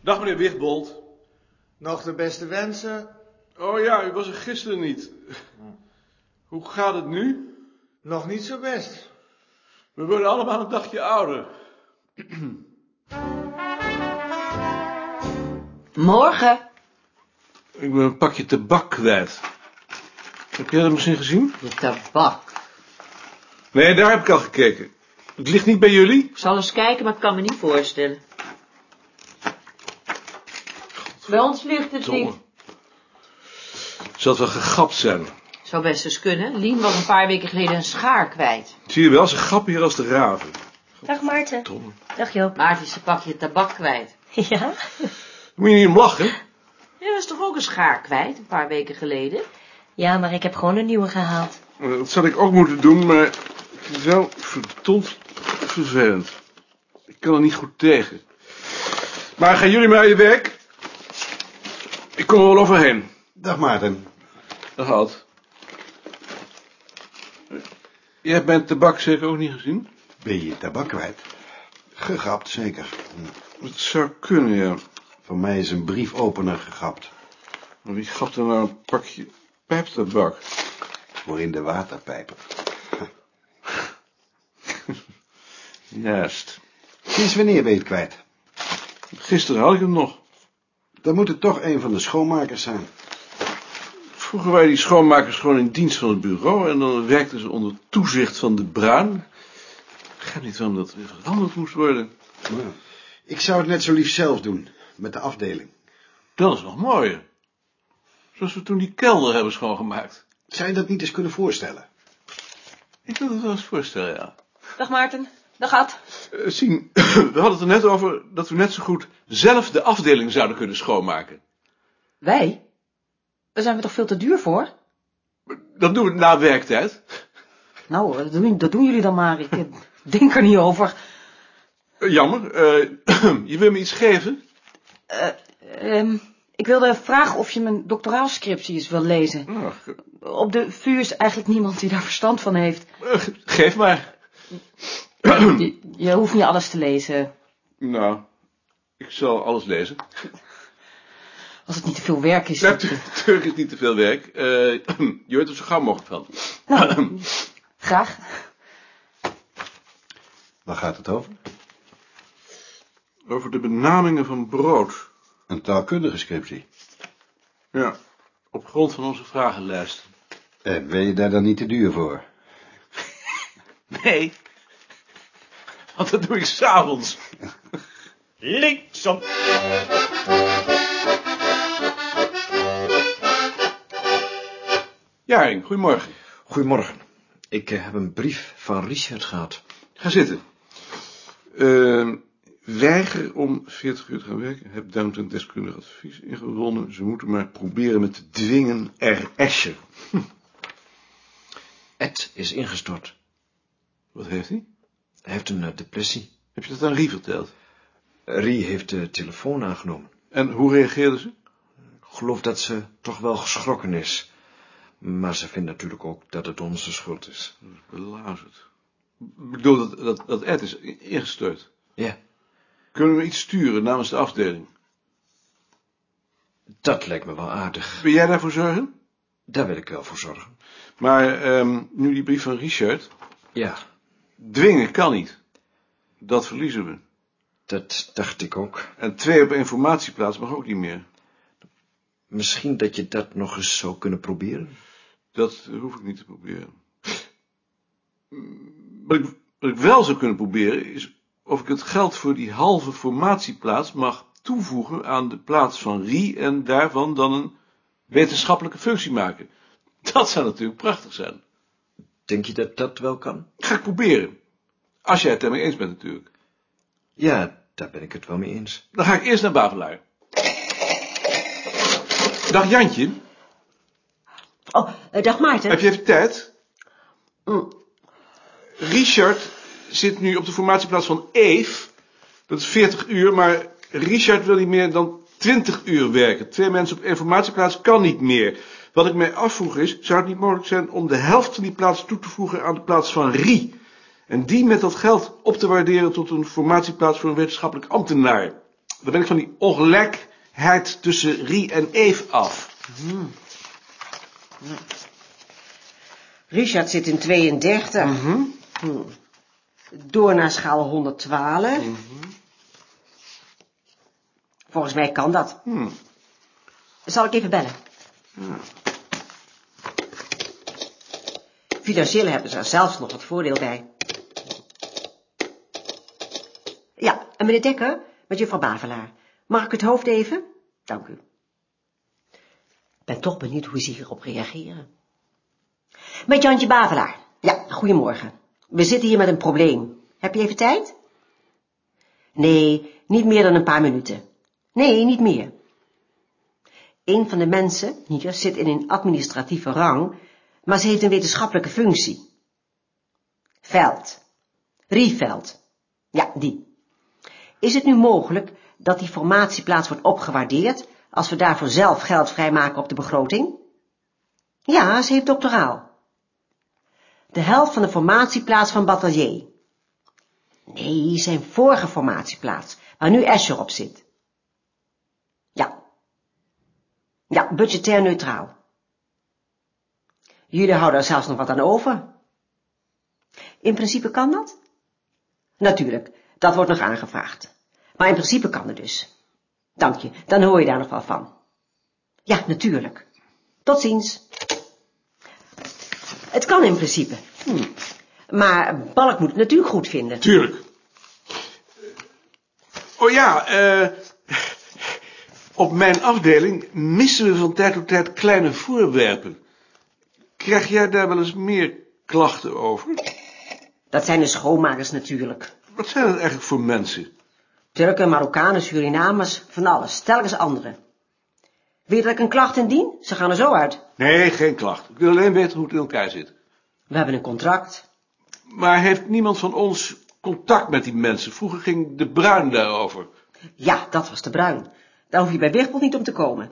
Dag meneer Wichtbold. Nog de beste wensen, Oh ja, u was er gisteren niet. Hoe gaat het nu? nog niet zo best. We worden allemaal een dagje ouder. Morgen. Ik ben een pakje tabak kwijt. Heb jij dat misschien gezien? De tabak. Nee, daar heb ik al gekeken. Het ligt niet bij jullie? Ik zal eens kijken, maar ik kan me niet voorstellen. Bij ons ligt het niet. Zal het wel gegapt zijn? Zou best eens kunnen. Lien was een paar weken geleden een schaar kwijt. Zie je wel, ze grappen hier als de raven. Dag Maarten. Tom. Dag Joop. Maarten is een pakje tabak kwijt. Ja? Moet je niet om lachen? Jij was toch ook een schaar kwijt, een paar weken geleden? Ja, maar ik heb gewoon een nieuwe gehaald. Eh, Dat zal ik ook moeten doen, maar ik vind het wel verdomd vervelend. Ik kan er niet goed tegen. Maar gaan jullie maar aan je werk? Ik kom er wel overheen. Dag Maarten. Dat had. Jij hebt mijn tabak zeker ook niet gezien? Ben je tabak kwijt? Gegapt, zeker. Hm. Dat zou kunnen, ja. Van mij is een briefopener gegapt. Maar wie gapt er nou een pakje pijptabak? Voor in de waterpijpen. Juist. Sinds wanneer ben je het kwijt? Gisteren had ik hem nog. Dan moet het toch een van de schoonmakers zijn. Vroeger waren die schoonmakers gewoon in dienst van het bureau en dan werkten ze onder toezicht van de bruin. Ik begrijp niet waarom dat weer veranderd moest worden. Nou, Ik zou het net zo lief zelf doen. Met de afdeling. Dat is nog mooier. Zoals we toen die kelder hebben schoongemaakt. Zou je dat niet eens kunnen voorstellen? Ik kan het wel eens voorstellen, ja. Dag Maarten. Dag Ad. Eh, Sien, we hadden het er net over dat we net zo goed zelf de afdeling zouden kunnen schoonmaken. Wij? Daar zijn we toch veel te duur voor? Dat doen we na werktijd. Nou, dat doen, dat doen jullie dan maar. Ik eh, denk er niet over. Eh, Jammer. eh, je wil me iets geven? Ehm, ik wilde vragen of je mijn doctoraalscriptie eens wil lezen. Nou, ge- Op de VU is eigenlijk niemand die daar verstand van heeft. eh, ge- geef maar. Je, je hoeft niet alles te lezen. Nou, ik zal alles lezen. Als het niet te veel werk is. Natuurlijk is niet te veel werk. Eh, je hoort er zo gauw mogelijk van. Graag. Waar gaat het over? Over de benamingen van brood. Een taalkundige scriptie. Ja. Op grond van onze vragenlijst. En ben je daar dan niet te duur voor? Nee. Want dat doe ik s'avonds. Linksom. Jaring, goedemorgen. Goedemorgen. Ik eh, heb een brief van Richard gehad. Ga zitten. Ehm, weiger om 40 uur te gaan werken. Heb Downton deskundig advies ingewonnen. Ze moeten maar proberen met te dwingen RS'en. Ed is ingestort. Wat heeft hij? Hij heeft een eh, depressie. Heb je dat aan Rie verteld? Rie heeft de telefoon aangenomen. En hoe reageerde ze? Ik geloof dat ze toch wel geschrokken is. Maar ze vindt natuurlijk ook dat het onze schuld is. Belazerd. Ik bedoel, dat, dat, dat Ed is i- ingestort. Ja, Kunnen we iets sturen namens de afdeling? dat lijkt me wel aardig. Wil jij daarvoor zorgen? Daar wil ik wel voor zorgen. Maar ehm, nu die brief van Richard. Ja, Dwingen kan niet. Dat verliezen we. dat dacht ik ook. En twee op informatieplaats mag ook niet meer. Misschien dat je dat nog eens zou kunnen proberen. Dat hoef ik niet te proberen. Mm, Wat ik, wat ik wel zou kunnen proberen is of ik het geld voor die halve formatieplaats mag toevoegen aan de plaats van Rie en daarvan dan een wetenschappelijke functie maken. Dat zou natuurlijk prachtig zijn. Denk je dat dat wel kan? Ga ik proberen. Als jij het ermee eens bent natuurlijk. Ja, daar ben ik het wel mee eens. Dan ga ik eerst naar Bavelaar. Dag Jantje, Oh, eh, dag Maarten. heb je even tijd? Richard zit nu op de formatieplaats van Eve. Dat is 40 uur, maar Richard wil niet meer dan 20 uur werken. Twee mensen op één formatieplaats kan niet meer. Wat ik mij afvroeg is, zou het niet mogelijk zijn om de helft van die plaats toe te voegen aan de plaats van Rie? En die met dat geld op te waarderen tot een formatieplaats voor een wetenschappelijk ambtenaar. Dan ben ik van die ongelijkheid tussen Rie en Eve af. Richard zit in 32. Mhm. Hm. Door naar schaal 112. Mhm. Volgens mij kan dat. Hmm. Zal ik even bellen? Financieel hebben ze er zelfs nog het voordeel bij. Ja, en meneer Dekker, met juffrouw Bavelaar. Mag ik het hoofd even? Dank u. Ik ben toch benieuwd hoe ze hierop reageren. Met Jantje Bavelaar. Ja, goedemorgen. We zitten hier met een probleem. Heb je even tijd? Nee, niet meer dan een paar minuten. Nee, niet meer. Een van de mensen hier zit in een administratieve rang, maar ze heeft een wetenschappelijke functie. Veld. Rieveld. Ja, die. Is het nu mogelijk dat die formatieplaats wordt opgewaardeerd als we daarvoor zelf geld vrijmaken op de begroting? Ja, ze heeft doctoraal. De helft van de formatieplaats van Batelier. Nee, zijn vorige formatieplaats, waar nu Escher op zit. Ja. Ja, budgetair neutraal. Jullie houden er zelfs nog wat aan over. In principe kan dat? Natuurlijk, dat wordt nog aangevraagd. Maar in principe kan het dus. Dank je, dan hoor je daar nog wel van. Ja, natuurlijk. Tot ziens. Het kan in principe. Hm. Maar Balk moet het natuurlijk goed vinden. Tuurlijk. Oh ja, eh, op mijn afdeling missen we van tijd tot tijd kleine voorwerpen. Krijg jij daar wel eens meer klachten over? Dat zijn de schoonmakers natuurlijk. Wat zijn dat eigenlijk voor mensen? Turken, Marokkanen, Surinamers, van alles. Telkens anderen. Weet dat ik een klacht indien? Ze gaan er zo uit. Nee, geen klacht. Ik wil alleen weten hoe het in elkaar zit. We hebben een contract. Maar heeft niemand van ons contact met die mensen? Vroeger ging de Bruin daarover. Ja, dat was de bruin. Daar hoef je bij Wichbold niet om te komen.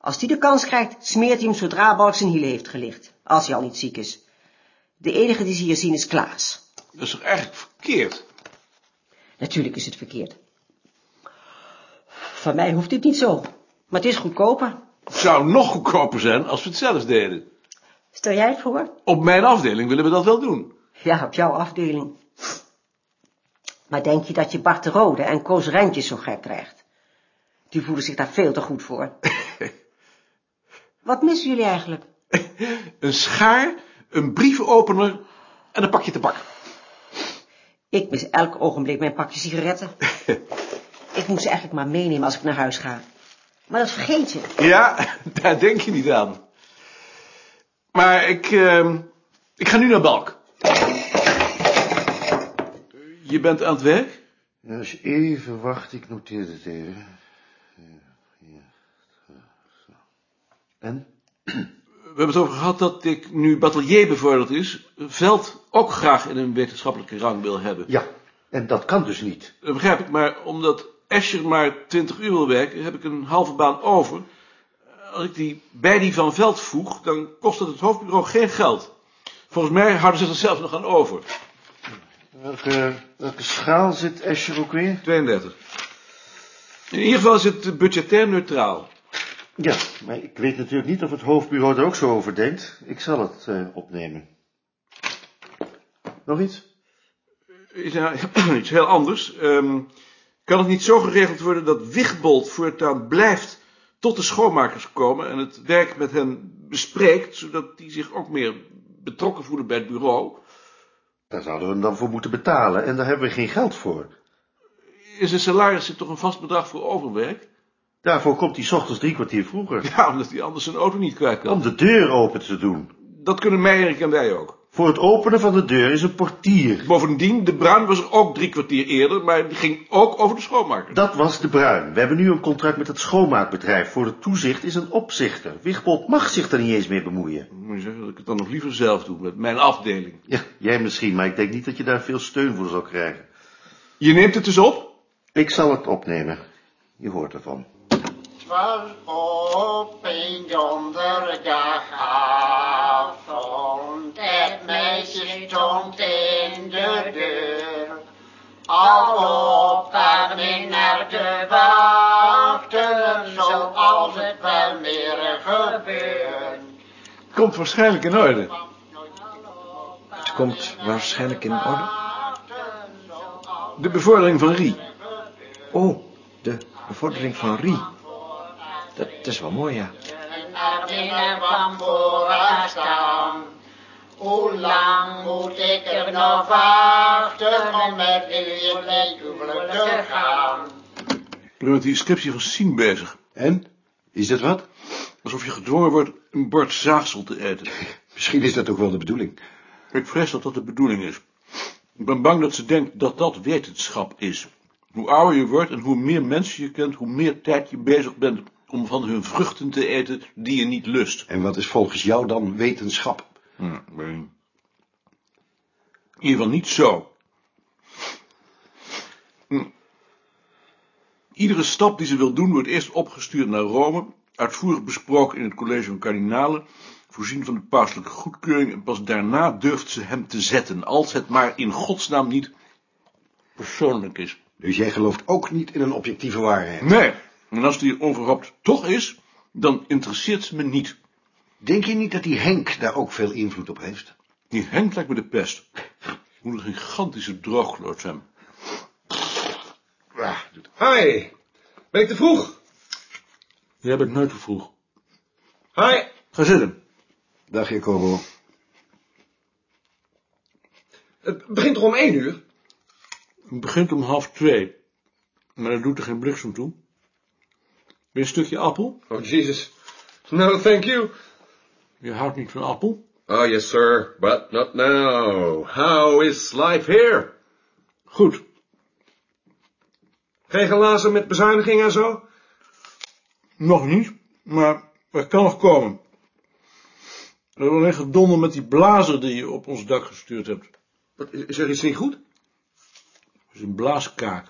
Als die de kans krijgt, smeert hij hem zodra Balk zijn hielen heeft gelicht. Als hij al niet ziek is. De enige die ze hier zien is Klaas. Dat is toch eigenlijk verkeerd? Natuurlijk is het verkeerd. Van mij hoeft dit niet zo. Maar het is goedkoper. Het zou nog goedkoper zijn als we het zelf deden. Stel jij het voor? Op mijn afdeling willen we dat wel doen. Ja, op jouw afdeling. Maar denk je dat je Bart de Rode en Koos Rentjes zo gek krijgt? Die voelen zich daar veel te goed voor. Wat missen jullie eigenlijk? Een schaar, een brievenopener en een pakje tabak. Ik mis elk ogenblik mijn pakje sigaretten. ik moet ze eigenlijk maar meenemen als ik naar huis ga. Maar dat vergeet je. Ja, daar denk je niet aan. Maar ik, ehm, ik ga nu naar Balk. Je bent aan het werk? Ja, als je even wacht, ik noteer het even. Ja, ja, zo, zo. En? We hebben het over gehad dat ik nu batelier bevorderd is, Veld ook graag in een wetenschappelijke rang wil hebben. Ja, en dat kan dus niet. Dat Eh, begrijp ik, maar omdat Escher maar 20 uur wil werken, heb ik een halve baan over. Eh, Als ik die bij die van Veld voeg, dan kost het het hoofdbureau geen geld. Volgens mij houden ze er zelfs nog aan over. Welke, welke schaal zit Escher ook weer? 32. In ieder geval is het budgetair neutraal. Ja, maar ik weet natuurlijk niet of het hoofdbureau er ook zo over denkt. Ik zal het eh, opnemen. Nog iets? Is nou iets heel anders. Ehm, kan het niet zo geregeld worden dat Wichtbold voortaan blijft tot de schoonmakers komen en het werk met hen bespreekt, zodat die zich ook meer betrokken voelen bij het bureau? Daar zouden we hem dan voor moeten betalen en daar hebben we geen geld voor. Is een salaris er toch een vast bedrag voor overwerk? Daarvoor komt hij 's ochtends drie kwartier vroeger. Ja, omdat hij anders zijn auto niet kwijt Om kan. de deur open te doen. Dat kunnen Meijerik en wij ook. Voor het openen van de deur is een portier. Bovendien, de Bruin was er ook drie kwartier eerder, maar die ging ook over de schoonmakers. Dat was de Bruin. We hebben nu een contract met het schoonmaakbedrijf. Voor het toezicht is een opzichter. Wichbold mag zich er niet eens mee bemoeien. Moet je zeggen dat ik het dan nog liever zelf doe, met mijn afdeling. Ja, jij misschien, maar ik denk niet dat je daar veel steun voor zal krijgen. Je neemt het dus op? Ik zal het opnemen. Je hoort ervan. Verhoping onderdag avond. Het meisje stond in de deur. Al op haar minnaar te wachten. waarschijnlijk in orde. Het komt waarschijnlijk in orde. De bevordering van Rie. Oh, de bevordering van Rie. Dat is wel mooi, ja. Naar binnen van vooraan staan. Hoe lang moet ik er nog wachten om met u in mijn huwelijk te gaan? Ik ben met de inscriptie van Sien bezig. En? Is dat wat? Alsof je gedwongen wordt een bord zaagsel te eten. Misschien is dat ook wel de bedoeling. Ik vrees dat dat de bedoeling is. Ik ben bang dat ze denkt dat dat wetenschap is. Hoe ouder je wordt en hoe meer mensen je kent, hoe meer tijd je bezig bent om van hun vruchten te eten die je niet lust. En wat is volgens jou dan wetenschap? Ja, weet ik niet. In ieder geval niet zo. Hm. Iedere stap die ze wil doen wordt eerst opgestuurd naar Rome, uitvoerig besproken in het college van kardinalen, voorzien van de pauselijke goedkeuring en pas daarna durft ze hem te zetten, als het maar in godsnaam niet persoonlijk is. Dus jij gelooft ook niet in een objectieve waarheid. Nee, en als die onverhoopt toch is, dan interesseert ze me niet. Denk je niet dat die Henk daar ook veel invloed op heeft? Die Henk lijkt me de pest. Moet een gigantische drooglood zijn. Hi, ben ik te vroeg? Jij bent nooit te vroeg. Hi. Ga zitten. Dag, Jacobo. Het begint toch om één uur? Het begint om half twee. Maar dat doet er geen bliksem toe. Wil je een stukje appel? Oh, Jesus. No, thank you. Je houdt niet van appel? Oh, yes, sir, but not now. How is life here? Goed. Geen glazen met bezuiniging en zo? Nog niet, maar het kan nog komen. We hebben alleen gedonder met die blazer die je op ons dak gestuurd hebt. Wat, is er iets niet goed? Dat is een blaaskaak.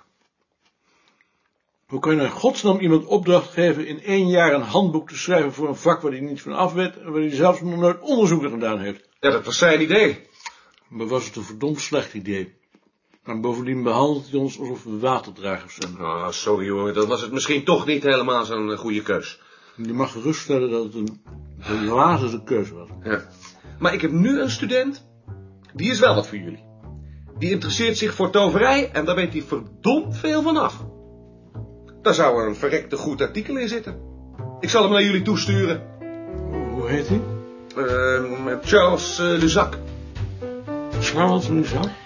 Hoe kan je nou in godsnaam iemand opdracht geven in één jaar een handboek te schrijven voor een vak waar hij niet van af weet en waar hij zelfs nog nooit onderzoek naar gedaan heeft? Ja, dat was zijn idee. Maar was het een verdomd slecht idee. En bovendien behandelt hij ons alsof we waterdragers zijn. Oh, sorry hoor, dat was het misschien toch niet helemaal zo'n eh, goede keus. Je mag geruststellen dat het een, een lazere keuze was. Ja. Maar ik heb nu een student, die is wel wat voor jullie. Die interesseert zich voor toverij en daar weet hij verdomd veel van af. Daar zou een verrekte goed artikel in zitten. Ik zal hem naar jullie toesturen. Hoe heet hij? Ehm, Charles eh, Luzac. Charles Luzak?